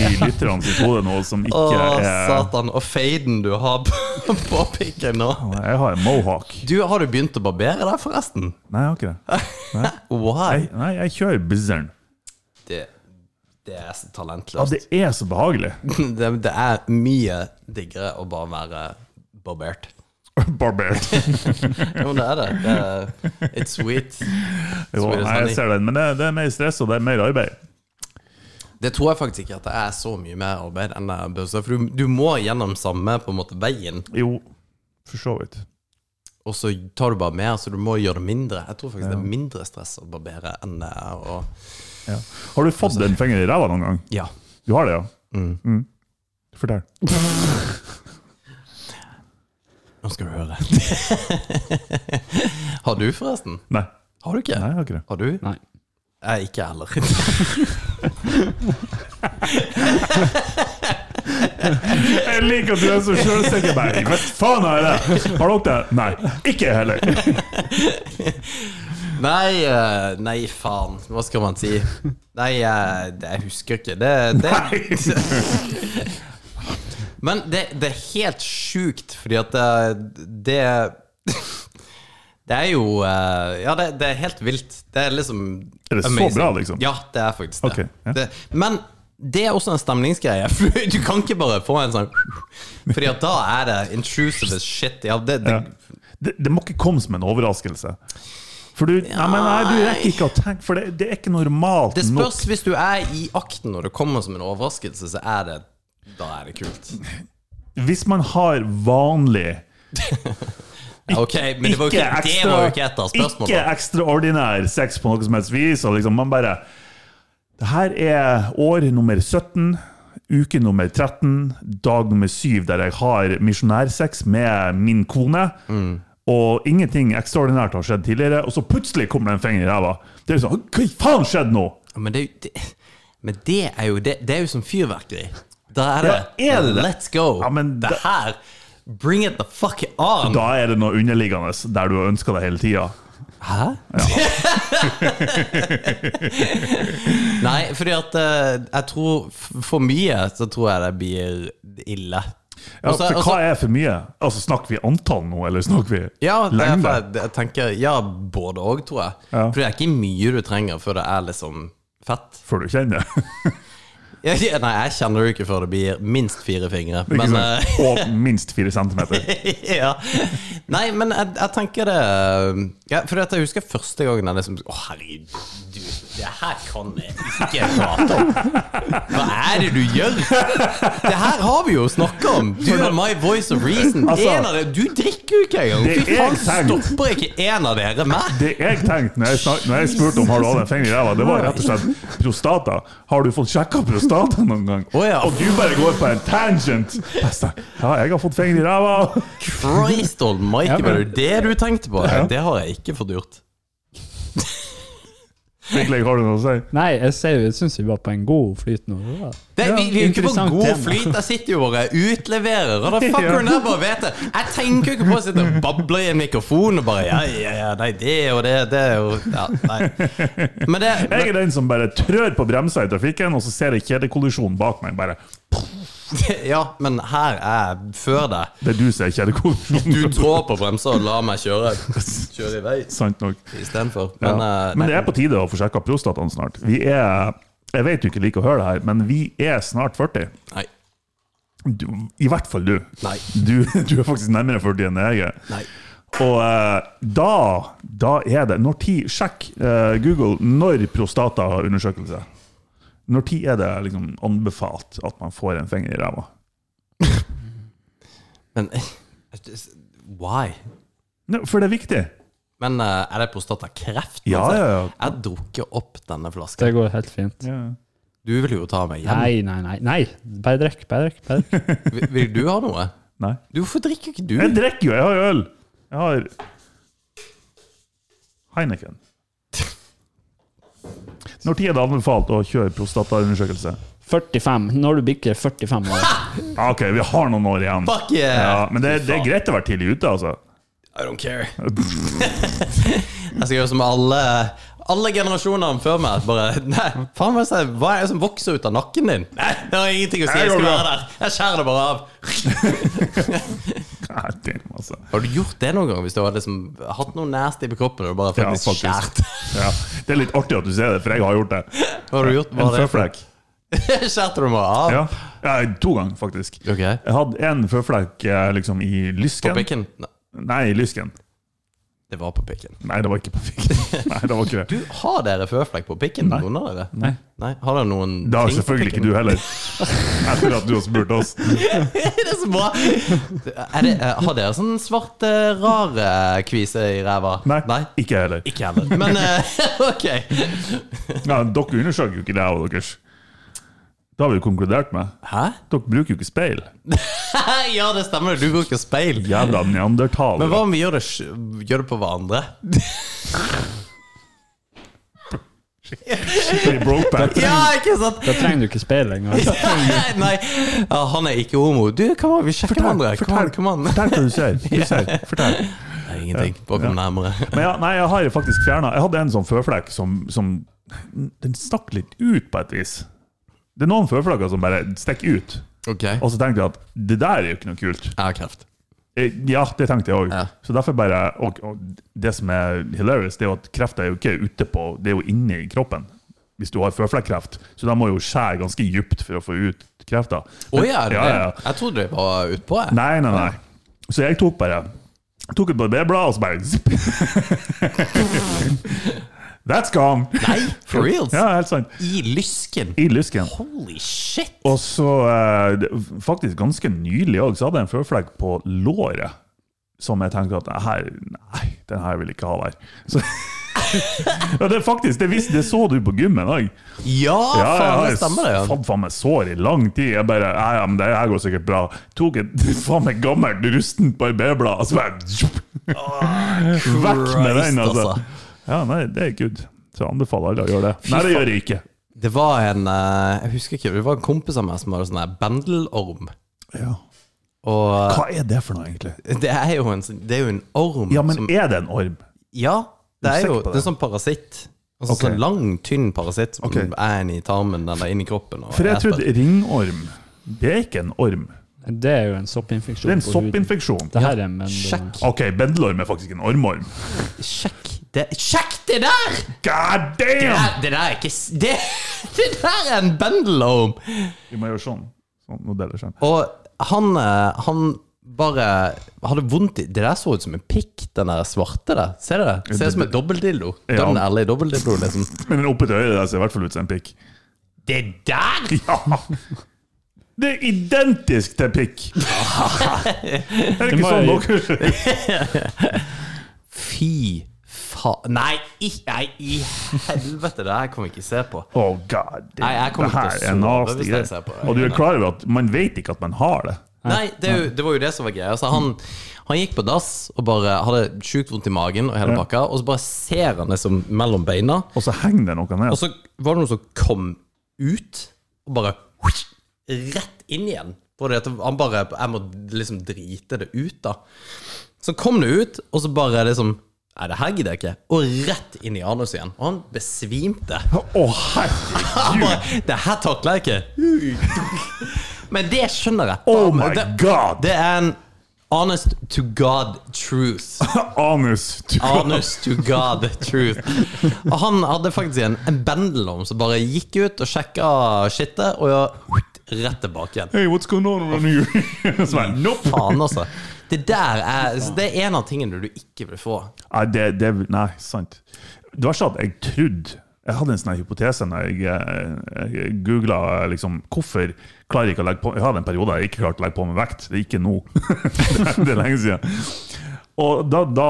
S2: i lytterne sitt hode nå
S1: Å,
S2: som ikke er
S1: satan. Og faden du har på, på pikken nå.
S2: Jeg har en mohawk.
S1: Du, Har du begynt å barbere deg, forresten?
S2: Nei, jeg har ikke det.
S1: Why?
S2: Nei, jeg kjører bizzeren.
S1: Det, det er så
S2: Ja,
S1: talentløst.
S2: Altså, det er så behagelig.
S1: det, det er mye diggere å bare være barbert.
S2: Barbert.
S1: Jo, det er det. det er, it's sweet.
S2: Jo,
S1: Sweet as
S2: nei, jeg
S1: honey.
S2: ser den, men det, det er mer stress og det er mer arbeid.
S1: Det tror jeg faktisk ikke at det er så mye mer arbeid enn det er bør være. For du, du må gjennom samme på en måte veien,
S2: Jo, for så vidt.
S1: og så tar du bare mer, så du må gjøre det mindre. Jeg tror faktisk det er mindre stress å barbere enn det er å
S2: Ja. Har du fått en finger i ræva noen gang?
S1: Ja.
S2: Du har det, ja? Mm. Fortell.
S1: Nå skal du høre. Har du, forresten?
S2: Nei.
S1: Har du ikke?
S2: Nei, jeg har ikke det.
S1: Har du?
S3: Nei.
S1: Nei, ikke heller.
S2: Jeg liker at du er så sjølsikker. Nei, Hva faen har jeg det? Har dere det? Nei. Ikke jeg heller.
S1: Nei, eh, nei, faen. Hva skal man si? Nei, eh, det, jeg husker ikke. Det, det. Men det, det er helt sjukt, fordi at det Det, det er jo eh, Ja, det, det er helt vilt. Det er liksom
S2: Er det så bra, liksom?
S1: Ja, det er faktisk det.
S2: Ok, ja.
S1: det men det er også en stemningsgreie. For du kan ikke bare få en sånn Fordi at da er det intrusive as shit. Ja, det, det,
S2: Ja. Det, det må ikke komme som en overraskelse. For du, nei, men nei, du rekker ikke å tenke, for det, det er ikke normalt
S1: Det
S2: nok.
S1: spørs hvis du er i akten og det kommer som en overraskelse, så er det Da er det kult.
S2: Hvis man har vanlig
S1: Ja, ok, men det var jo ikke, det var jo ikke et av spørsmålene.
S2: ikke ekstraordinær sex på noe som helst vis. Og liksom man bare Det her er år nummer 17, uke nummer 13, dag nummer 7, der jeg har misjonærsex med min kone.
S1: Mm.
S2: Og ingenting ekstraordinært har skjedd tidligere, og så plutselig kommer det en finger i ræva. Det er sånn, Hva i faen skjedde nå?!
S1: Ja, Men, det, er jo- det, men det er jo det, det er jo som fyrverkeri. Da er det,
S2: Ja, er det det?
S1: Let's go!
S2: Ja, men
S1: det
S2: da-
S1: her Bring it the fuck on!
S2: Da er det noe underliggende der du har ønska det hele tida.
S1: Hæ? Nei, fordi at eh, jeg tror f- For mye så tror jeg det blir ille.
S2: Ja,
S1: Og så-
S2: for
S1: og så-
S2: hva er for mye? Altså, Snakker vi antall nå, eller snakker vi
S1: Ja, det er
S2: lengde?
S1: for jeg, jeg tenker Ja, både òg, tror jeg.
S2: Ja.
S1: For det er ikke mye du trenger før det er liksom fett.
S2: Før du kjenner det?
S1: Ja, ja, nei, jeg kjenner det jo ikke før det blir minst fire fingre.
S2: Ikke
S1: Men
S2: sant? og minst fire centimeter.
S1: eh, ja. Nei, men jeg, jeg tenker det eh, ja, For jeg husker første gangen jeg liksom Å, herregud, du, det her kan jeg ikke prate om. Hva er det du gjør? Det her har vi jo snakka om. Du er my voice of reason.
S2: Altså,
S1: en av dere, du drikker jo ikke engang.
S2: det
S1: Fy
S2: er
S1: faen,
S2: sant.
S1: stopper ikke en av dere meg?
S2: Det jeg tenkte når jeg, snak, når jeg spurte om har du hatt en finger i ræva, det var rett og slett prostata. Har du fått sjekka prostata noen gang?
S1: Å, ja.
S2: Og du bare går på en tangent! Jeg sa, Ja, jeg har fått finger i ræva!
S1: Christ almighty,
S3: Ja, men-
S1: var det det du tenkte på? Det har jeg ikke fått gjort.
S2: Virkelig, har du noe å si?
S3: Nei, jeg, ser jo- jeg syns vi var på en god flyt nå. Det var-
S1: Det, vi, vi er jo ikke på
S3: interessant
S1: god
S3: tema.
S1: flyt. Jeg sitter jo bare utleverer. Og da fucker hun der bare vet det. Jeg tenker jo ikke på å sitte og bable i en mikrofon og bare Ja, ja, ja, nei, det og det, det og ja, Nei. Men det men,
S2: Jeg er den som bare trør på bremsa i trafikken, og så ser jeg kjedekollisjonen bak meg. Bare,
S1: Ja, men her er jeg før deg.
S2: det er du som er kjedekollisjonen.
S1: Du trår på bremsa og lar meg kjøre. Kjøre i vei
S2: Sant nok.
S1: istedenfor.
S2: Ja.
S1: Men, eh,
S2: men
S1: nei.
S2: det er på tide å få sjekka prostataen snart. Vi er Jeg vet du ikke liker å høre det her, men vi er snart 40.
S1: nei.
S2: Du, I hvert fall du.
S1: Nei.
S2: Du, du er faktisk nærmere 40 enn jeg er.
S1: Nei.
S2: Og eh, da, da er det Når tid, Sjekk eh, Google når prostataundersøkelse. Når tid er det liksom anbefalt at man får en finger i ræva?
S1: Men Why?
S2: Nei, For det er viktig.
S1: Men eh, er det prostatakreft?
S2: Ja,
S1: Altså,
S2: ja, ja.
S1: Jeg drukker opp denne flaska.
S3: Det går helt fint.
S2: ja.
S1: Du vil jo ta meg hjem.
S3: Nei, nei, nei. nei. Bare drikk, bare drikk. bare drikk.
S1: Vil, vil du ha noe?
S2: Nei.
S1: Du, Hvorfor drikker ikke du?
S2: Jeg drikker jo, jeg har øl! Jeg har Heineken. Når tid er det anbefalt å kjøre prostataundersøkelse?
S3: 45. Når du bikker 45 år.
S2: Ah, OK, vi har noen år igjen.
S1: Fuck yeah!
S2: Ja, men det, det er greit å være tidlig ute, altså.
S1: I don't care. jeg skal gjøre som alle Alle generasjonene før meg. Bare, nei, faen hva, er det som- hva er det som vokser ut av nakken din? Nei, Det har ingenting å si.
S2: Jeg
S1: Jeg skal
S2: går bra.
S1: være der. Jeg skjærer det bare av.
S2: Nei, damn, altså.
S1: Har du gjort det noen gang hvis du har liksom hatt noe nasty på kroppen og du bare
S2: Ja,
S1: faktisk,
S2: faktisk.
S1: skjært?
S2: Ja, det er litt artig at du sier det, for jeg har gjort det.
S1: Hva har du gjort? Hva
S2: En
S1: har det-
S2: føflekk.
S1: Skjærte du meg av?
S2: Ja. ja, to ganger, faktisk.
S1: Ok.
S2: Jeg hadde en føflekk eh, liksom i
S1: På
S2: lysken.
S1: pikken? Nei,
S2: Nei, i lysken.
S1: det var på pikken.
S2: Nei, det var ikke på pikken. Nei, det var ikke det.
S1: Du, har dere føflekk på pikken? Noen av dere? Nei. Har dere noen
S2: Det har
S1: ting på
S2: selvfølgelig
S1: pikken?
S2: ikke du heller. Etter at du har spurt oss.
S1: Det er så bra! Er det, eh, har dere sånn svart, eh, rar eh, kvise i ræva?
S2: Nei, ikke jeg heller.
S1: Ikke heller. Men eh, ok.
S2: Ja, dere undersøker jo ikke det av deres. Det har vi jo konkludert med.
S1: Hæ?
S2: Dere bruker jo ikke speil.
S1: ja, det stemmer. Du bruker speil.
S2: Jævla neandertalere.
S1: Men hva om vi gjør det, sj- gjør det på hverandre?
S2: Skikkelig brokeback.
S1: Ja, ikke sant?
S3: Da trenger du ikke speil engang.
S1: Nei, ja, han er ikke homo. Du, kom an, vi sjekker hverandre. Kom an, kom an.
S2: Fortell hva du ser. Du ser. Fortell.
S1: Nei, ingenting. Bare kom nærmere.
S2: Men ja, nei, jeg har jo faktisk fjerna Jeg hadde en sånn føflekk som, som Den stakk litt ut, på et vis. Det er noen føflekker som bare stikker ut.
S1: Ok.
S2: Og så tenkte jeg at det der er jo ikke noe kult.
S1: Jeg har kreft.
S2: Eh, Ja, det tenkte jeg òg.
S1: Ja.
S2: Så derfor bare og, og det som er hilarious, det er jo at kreft er jo ikke ute på Det er jo inni kroppen. Hvis du har føflekkreft. Så da må jo skjære ganske dypt for å få ut krefta.
S1: Å ja, er det det?
S2: ja, ja, ja.
S1: Jeg trodde det var utpå. jeg.
S2: Nei, nei, nei. Så jeg tok bare Tok et barberblad og så bare zipp. That's gone!
S1: Nei, for reals!
S2: Ja, helt sant.
S1: I lysken!
S2: I lysken.
S1: Holy shit!
S2: Og så, eh, det- faktisk ganske nylig òg, så hadde jeg en føflekk på låret som jeg tenkte at "Det her, nei, den her vil jeg ikke ha der. Så, ja, det er faktisk, det, visste, det så du på gymmen òg.
S1: Ja, faen, det stemmer det.
S2: jeg
S1: ja.
S2: fant faen meg sår i lang tid. Jeg bare, "Nei, ja, men det her går sikkert bra. Tok et faen meg gammelt, rustent barberblad, og så bare Vekk med den,
S1: Christ,
S2: altså.
S1: altså.
S2: Ja, nei, det er good. Så jeg anbefaler alle å gjøre det. Nei, det gjør jeg ikke.
S1: Det var en eh, Jeg husker ikke, det var en kompis av meg som hadde sånn her bendelorm.
S2: Ja.
S1: Og eh,
S2: Hva er det for noe, egentlig?
S1: det er jo en, sånn- det er jo en orm
S2: Ja, men
S1: som
S2: er det en orm?
S1: Ja, det
S2: Er du
S1: er jo
S2: sikker på
S1: det?
S2: det?
S1: er en sånn parasitt. Altså
S2: Ok.
S1: sånn lang, tynn parasitt som
S2: Ok.
S1: er inni tarmen eller inni kroppen. og
S2: For jeg
S1: eter.
S2: trodde ringorm Det er ikke en orm.
S3: Det er jo en
S2: Det
S3: soppinfeksjon.
S2: er en
S3: på huden.
S2: soppinfeksjon.
S3: Det her er men,
S1: Sjekk,
S2: Ok, bendelorm er faktisk en ormorm.
S1: sjekk det, sjekk det der! Eh,
S2: God damn!
S1: Det der er ikke s- Det, det der er en bendelorm!
S2: Vi må gjøre sånn. Sånn, nå deler seg.
S1: Og han, eh, han bare hadde vondt i Det der så ut som en pikk, den der svarte der. Ser du det? Ser ut som en dobbeltdildo.
S2: Ja.
S1: Dønn ærlig dobbeltdildo, liksom.
S2: Men den oppe til øyet der ser i hvert fall ut som en pikk.
S1: Det der!
S2: Ja! Det er identisk til pikk! Er det
S3: Det
S2: ikke
S3: må
S2: sånn
S3: jeg-
S2: dere
S1: Fy faen Nei, i- nei, i helvete! Det her kan vi ikke se på.
S2: Oh god damn.
S1: Nei, jeg kommer
S2: det her
S1: til å
S2: er
S1: sove
S2: nasty
S1: hvis jeg ser
S2: greier.
S1: på det.
S2: Og du er klar over at man vet ikke at man har det.
S1: Nei, det, er jo, det var jo det som var greia. Så han, han gikk på dass og bare hadde sjukt vondt i magen og hele pakka, og så bare ser han liksom mellom beina,
S2: Og så henger det noe ned.
S1: og så var det noen som kom ut og bare rett inn igjen. For det at han bare Jeg må liksom drite det ut, da. Så kom det ut, og så bare liksom Nei, det her gidder jeg ikke. Og rett inn i anus igjen. Og han besvimte.
S2: Å, herregud!
S1: Bare, det her takler jeg ikke. Men det skjønner jeg.
S2: Oh
S1: Og
S2: my
S1: det-
S2: god!
S1: det er en honest to god truth.
S2: Anus. Du-
S1: Ah. Honest to god truth. Og han hadde faktisk en, en bendelorm som bare gikk ut og sjekka skittet, og ja, rett tilbake igjen.
S2: Hey, what's going on around here? Så bare, nope.
S1: Faen, altså. Det der er så Det er en av tingene du ikke vil få.
S2: Nei, det, det, nei, sant. Det var sånn at jeg trodde Jeg hadde en sånn her hypotese når jeg, eh, jeg googla liksom, hvorfor klarer jeg ikke å legge på Jeg hadde en periode jeg ikke klarte å legge på meg vekt. Det er ikke nå. det er lenge siden. Og da, da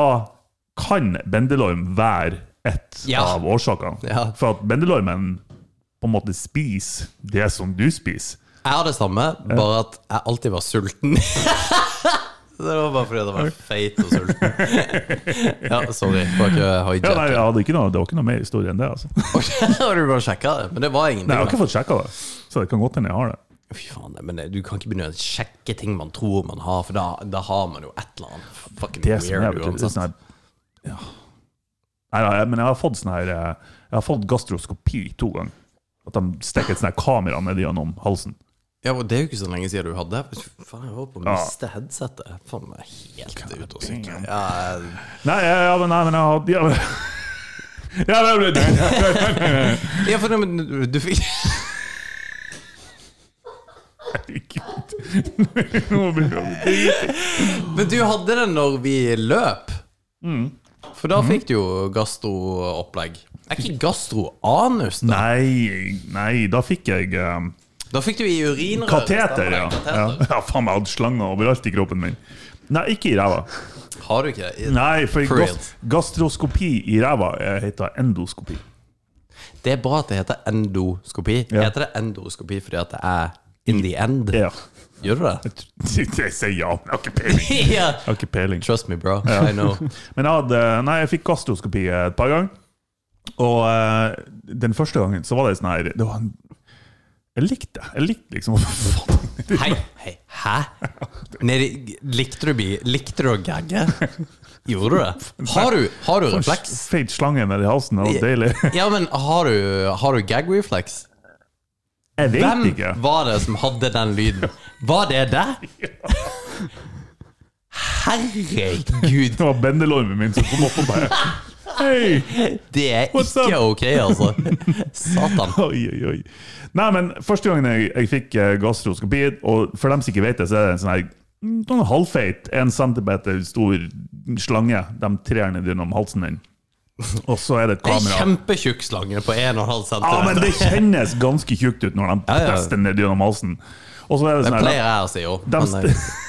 S2: kan bendelorm være et
S1: Ja.
S2: av årsakene.
S1: Ja.
S2: For at bendelormen på en måte spiser det som du spiser.
S1: Jeg har det samme, bare at jeg alltid var sulten. Så det var bare fordi jeg var feit og sulten. Ja, sorry. Var ikke
S2: Ja, nei,
S1: hijack.
S2: jeg hadde ikke noe, det var ikke noe mer historie enn det. altså. Nei,
S1: Har du bare sjekka det? Men det var ingenting.
S2: Jeg har
S1: da.
S2: ikke fått sjekka det, så det kan godt hende jeg har det.
S1: Fy faen, nei, men det- du kan ikke begynne å sjekke ting man tror man har, for da, da har man jo et eller annet fucking
S2: det som er
S1: weird
S2: vet du, det er
S1: uansett.
S2: sånn her ja. Nei, nei, men jeg har fått sånn her eh, Jeg har fått gastroskopi to ganger. At de stikker et sånn her kamera ned gjennom halsen.
S1: Ja, og Det er jo ikke så lenge siden du hadde Faen, jeg holdt på å
S2: Ja.
S1: miste headsetet. Faen, jeg er helt ute og sykler. Ja, jeg-
S2: Nei, ja, ja, men, nei, men jeg har ja, men, ja, det ble det.
S1: ja, for det, men du- du fikk
S2: Herregud. Nå blir det
S1: Men du hadde det når vi løp.
S2: Mm.
S1: For da fikk du jo gastroopplegg. Er ikke gastro anus, da?
S2: Nei, nei, da fikk jeg eh,
S1: Da fikk du i urinrøret. stemmer
S2: kateter,
S1: det?
S2: ja. ja.
S1: Kateter.
S2: ja. Faen, jeg hadde slanger overalt i kroppen min. Nei, ikke i ræva.
S1: Har du ikke det?
S2: Nei, for
S1: For
S2: gast gastroskopi i ræva eh, heter endoskopi.
S1: Det er bra at det heter endoskopi.
S2: Ja.
S1: Heter det endoskopi fordi at det er in the end?
S2: Ja.
S1: Gjør du det?
S2: Jeg sier ja, men jeg har ikke peiling.
S1: ja.
S2: Jeg har ikke peiling.
S1: Trust me, bro. I know.
S2: Men jeg, hadde, nei, jeg fikk gastroskopi et par ganger. Og eh, den første gangen så var det sånn her det var en, Jeg likte det. Jeg likte liksom
S1: Hei, hei, hæ? Nedi, likte du bi? Likte du å gagge? Gjorde du det? Har du, har du refleks?
S2: Feit slange nedi halsen, det var deilig.
S1: Ja, men har du, har du gag reflex?
S2: Jeg vet
S1: Hvem
S2: ikke.
S1: var det som hadde den lyden? Var det deg? Herregud,
S2: Det var bendelormen min som kom opp og bare Hei!
S1: det er
S2: What's up?
S1: ikke ok, altså. Satan.
S2: Oi, oi, oi. Nei, men første gangen jeg, jeg fikk eh, gastroskopi, og for dem som ikke vet det, så er det en sånn her mm, sånn halvfeit, en centimeter stor slange de trer ned gjennom halsen din. Og så er det et
S1: Det er
S2: kamera.
S1: kjempetjukk slange på 1,5 cm.
S2: Ja, men det kjennes ganske tjukt ut når de
S1: Ja, ja.
S2: tester ned gjennom halsen. Og så er det sånn her
S1: pleier jeg å si jo.
S2: De,
S1: men, eh,
S2: st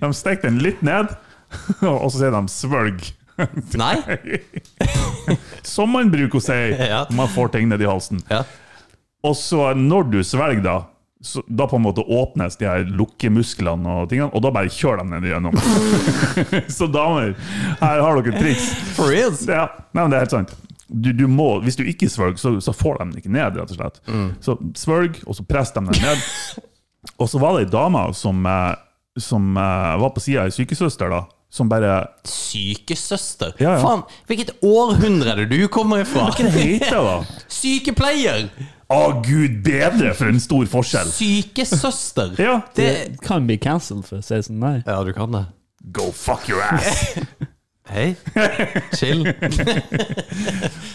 S2: de stekte den litt ned, og så sier de 'svelg'.
S1: eh, Nei?
S2: Som man bruker å si
S1: Ja.
S2: når man får ting ned i halsen.
S1: Ja.
S2: Og så når du svelger, da, så, da på en måte åpnes de her lukkemusklene og tingene, og da bare kjører de ned igjennom. så damer, her har dere et triks.
S1: For reals?
S2: Ja, nei, men det er helt sant. Du, du må, hvis du ikke svelger, så, så får de den ikke ned, rett og slett. Så svelg, og så presser de den ned. og så var det ei dame som, eh, som eh, var på sida av ei sykesøster, da, som bare
S1: Sykesøster?
S2: Ja, ja.
S1: Faen, hvilket århundre er det du kommer ifra?
S2: Hva heter det, da?
S1: Sykepleier!
S2: Å, gud bedre, for en stor forskjell!
S1: Sykesøster!
S2: Ja,
S1: Det
S3: eh, Det kan bli cancelled, for å si det sånn. Nei.
S1: Ja, du kan det.
S2: Go fuck your ass!
S1: Hei. Chill.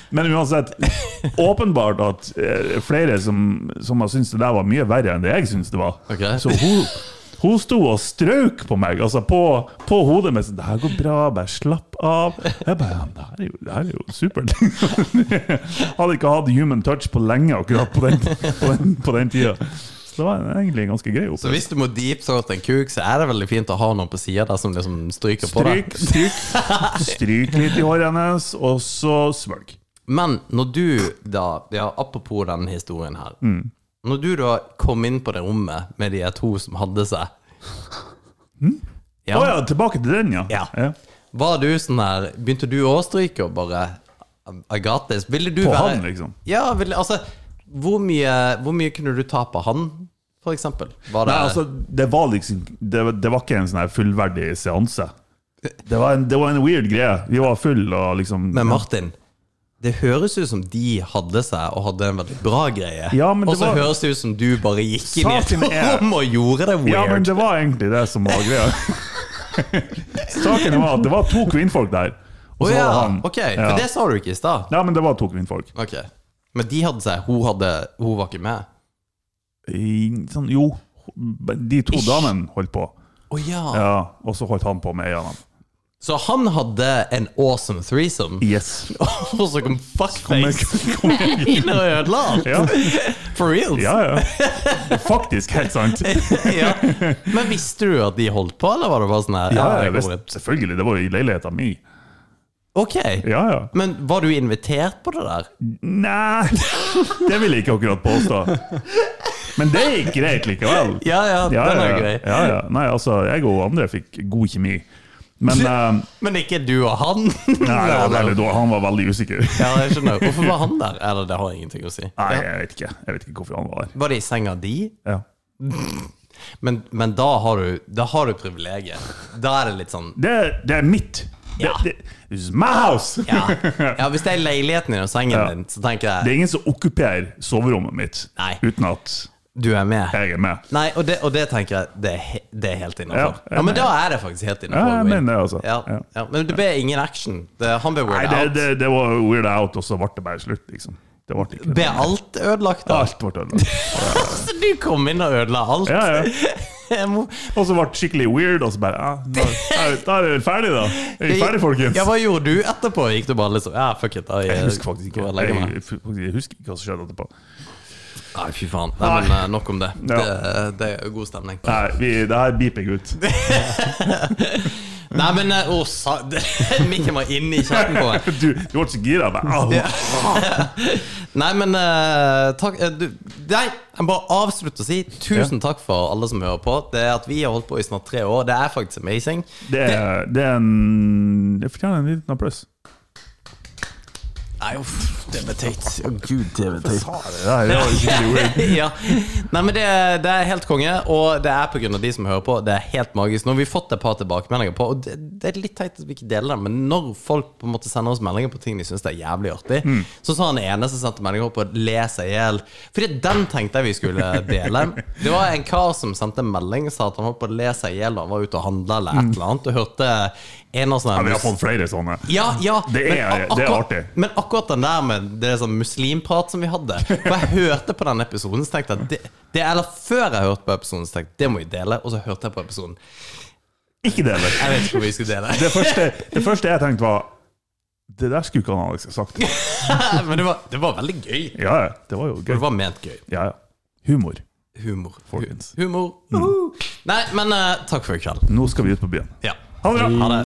S2: Men uansett, åpenbart at eh, flere som, som har syntes det der var mye verre enn det jeg syntes det var.
S1: Ok.
S2: Så hun, hun sto og strøk på meg, altså på, på hodet mitt. sånn, 'Det her går bra, bare slapp av'. Jeg bare ja, men 'Det her er jo, det her er jo supert'. Hadde ikke hatt human touch på lenge akkurat på den, på den, på den tida. Så det var egentlig en ganske grei
S1: Så
S2: opplevelse.
S1: hvis du må deepsorte en kuk, så er det veldig fint å ha noen på sida der som liksom stryker på deg.
S2: Stryk, stryk, stryk litt i håret hennes, og så svelg.
S1: Men når du da, ja, apropos denne historien her
S2: Mm.
S1: Når du da kom inn på det rommet med de her to som hadde seg
S2: Å Mm.
S1: ja,
S2: ja, tilbake til den, ja.
S1: Ja. Var du sånn der Begynte du å stryke og bare I got this? Ville du
S2: På
S1: være
S2: han, liksom.
S1: Ja, ville, altså hvor mye, hvor mye kunne du ta på han, for eksempel? Var det
S2: Nei, altså, det var liksom Det, det var ikke en sånn her fullverdig seanse. Det var, en, det var en weird greie. Vi var full og liksom
S1: Men Martin, det høres ut som de hadde seg og hadde en veldig bra greie.
S2: Ja, men
S1: og
S2: det
S1: så
S2: var-
S1: høres det ut som du bare gikk inn i et
S2: Saken er-
S1: rom og gjorde det
S2: Ja, men
S1: weird.
S2: det var egentlig det som var greia. Saken var at det var to kvinnfolk der.
S1: Å
S2: Og så
S1: ja,
S2: var det han.
S1: ok,
S2: ja.
S1: For det sa du ikke i stad.
S2: ja, men det var to kvinnfolk.
S1: Ok. Men de hadde seg. Hun, hadde, hun var ikke med.
S2: I- Sånn, jo, de to
S1: Ish.
S2: damene holdt på.
S1: Å ja.
S2: Ja, Og så holdt han på med ei av dem.
S1: Så han hadde en awesome threesome,
S2: Yes.
S1: og så kom fuckface
S2: Kom igjen.
S1: inn og ødela alt!
S2: Ja.
S1: For reals!
S2: ja, ja. Faktisk helt sant.
S1: Ja. Men visste du at de holdt på, eller var det bare sånn her?
S2: Ja,
S1: det
S2: jeg
S1: går
S2: visste-
S1: ut.
S2: selvfølgelig. Det var jo i leiligheta mi.
S1: Ok.
S2: Ja, ja.
S1: Men var du invitert på det der?
S2: Nei, det vil jeg ikke akkurat påstå. Men det gikk greit likevel.
S1: Ja, ja, den er jo grei.
S2: ja, ja. Nei, altså, jeg og andre fikk god kjemi. Men eh,
S1: Men ikke du og han?
S2: nei, det var veldig dårlig. han var veldig usikker.
S1: Ja, jeg skjønner. Hvorfor var han der? Eller det har ingenting å si.
S2: Nei, jeg vet ikke Jeg vet ikke hvorfor han var der.
S1: Var det i senga di?
S2: Ja.
S1: Men, men da har du Da har du privilegiet. Da er det litt sånn
S2: Det, det er mitt. Det,
S1: Ja.
S2: det, this is my house!
S1: Ja, ja hvis det er leiligheten din og sengen din, så tenker
S2: Det
S1: jeg
S2: er ingen som okkuperer soverommet mitt
S1: Nei.
S2: uten at
S1: du er med.
S2: jeg er med.
S1: Nei, og det, og det tenker jeg det er, he, det er helt
S2: Ja,
S1: innafor.
S2: jeg
S1: Ja, men
S2: mener-
S1: da er det faktisk helt innafor.
S2: Ja, jeg mener det, altså.
S1: Ja,
S2: Ja.
S1: ja. Men det ble ingen action. Det, han ble
S2: Nei,
S1: weird
S2: det,
S1: out.
S2: det, det var weird out, og så ble det bare slutt, liksom. Det ble ikke
S1: Ble alt ødelagt? da?
S2: Alt ble ødelagt.
S1: Så du kom inn og ødela alt?
S2: Ja, ja.
S1: Jeg må-
S2: Og så ble det skikkelig weird, og så bare ja, Da er vi- da er vi vel ferdig, da. Er vi ferdig, folkens?
S1: Ja, Hva gjorde du etterpå? Gikk du bare liksom Ja, fuck it. Da, jeg,
S2: Jeg husker faktisk ikke.
S1: går og legger meg.
S2: Jeg, jeg husker ikke hva som skjedde etterpå.
S1: Nei, fy faen. Nei, men eh, nok om det.
S2: Ja.
S1: Det, det er god stemning.
S2: Nei, vi, det her beeper jeg ut.
S1: Nei, men eh, Å, sa Mikken var inni kjeften på meg.
S2: Du, du ble så gira. bare, au.
S1: Nei, men eh, takk eh, du, Nei, jeg må bare avslutte og si tusen takk for alle som hører på. Det at vi har holdt på i snart tre år, det er faktisk amazing.
S2: Det, er- det er en Det fortjener en liten applaus.
S1: Nei, uff, det ble teit. Å gud, det ble teit.
S2: Det der, det var skikkelig weird.
S1: ja. Nei, men det, det er helt konge, og det er på grunn av de som hører på. Det er helt magisk. Nå har vi fått et par tilbakemeldinger på, og det, det er litt teit at vi ikke deler det, men når folk på en måte sender oss meldinger på ting de syns er jævlig artig, så sa han ene som sendte melding opp og leser i hjel Fordi den tenkte jeg vi skulle dele. Det var en kar som sendte en melding og sa at han holdt på å le seg i hjel da han var ute og handla eller et eller annet, og hørte en av sånne
S2: Ja, vi har fått flere sånne.
S1: ja, ja.
S2: Det er-
S1: men ak-
S2: det er
S1: akkurat-
S2: artig.
S1: Men akkurat den der med det sånn muslimprat som vi hadde For jeg hørte på den episoden, så tenkte jeg at det, det, Eller før jeg hørte på episoden, så tenkte jeg det må vi dele. Og så hørte jeg på episoden.
S2: Ikke det heller.
S1: Jeg vet ikke hvor vi skulle dele.
S2: Det første, det første jeg tenkte, var Det der skulle ikke han Alex ha sagt.
S1: Men det var, det var veldig gøy.
S2: Ja, ja. Det var jo
S1: Det
S2: gøy.
S1: var ment gøy.
S2: Ja, ja. Humor.
S1: Humor.
S2: Folkens.
S1: Humor. Uhu. Nei, men eh, takk for i kveld.
S2: Nå skal vi ut på byen.
S1: Ja.
S2: Ha det bra!
S1: Ha det.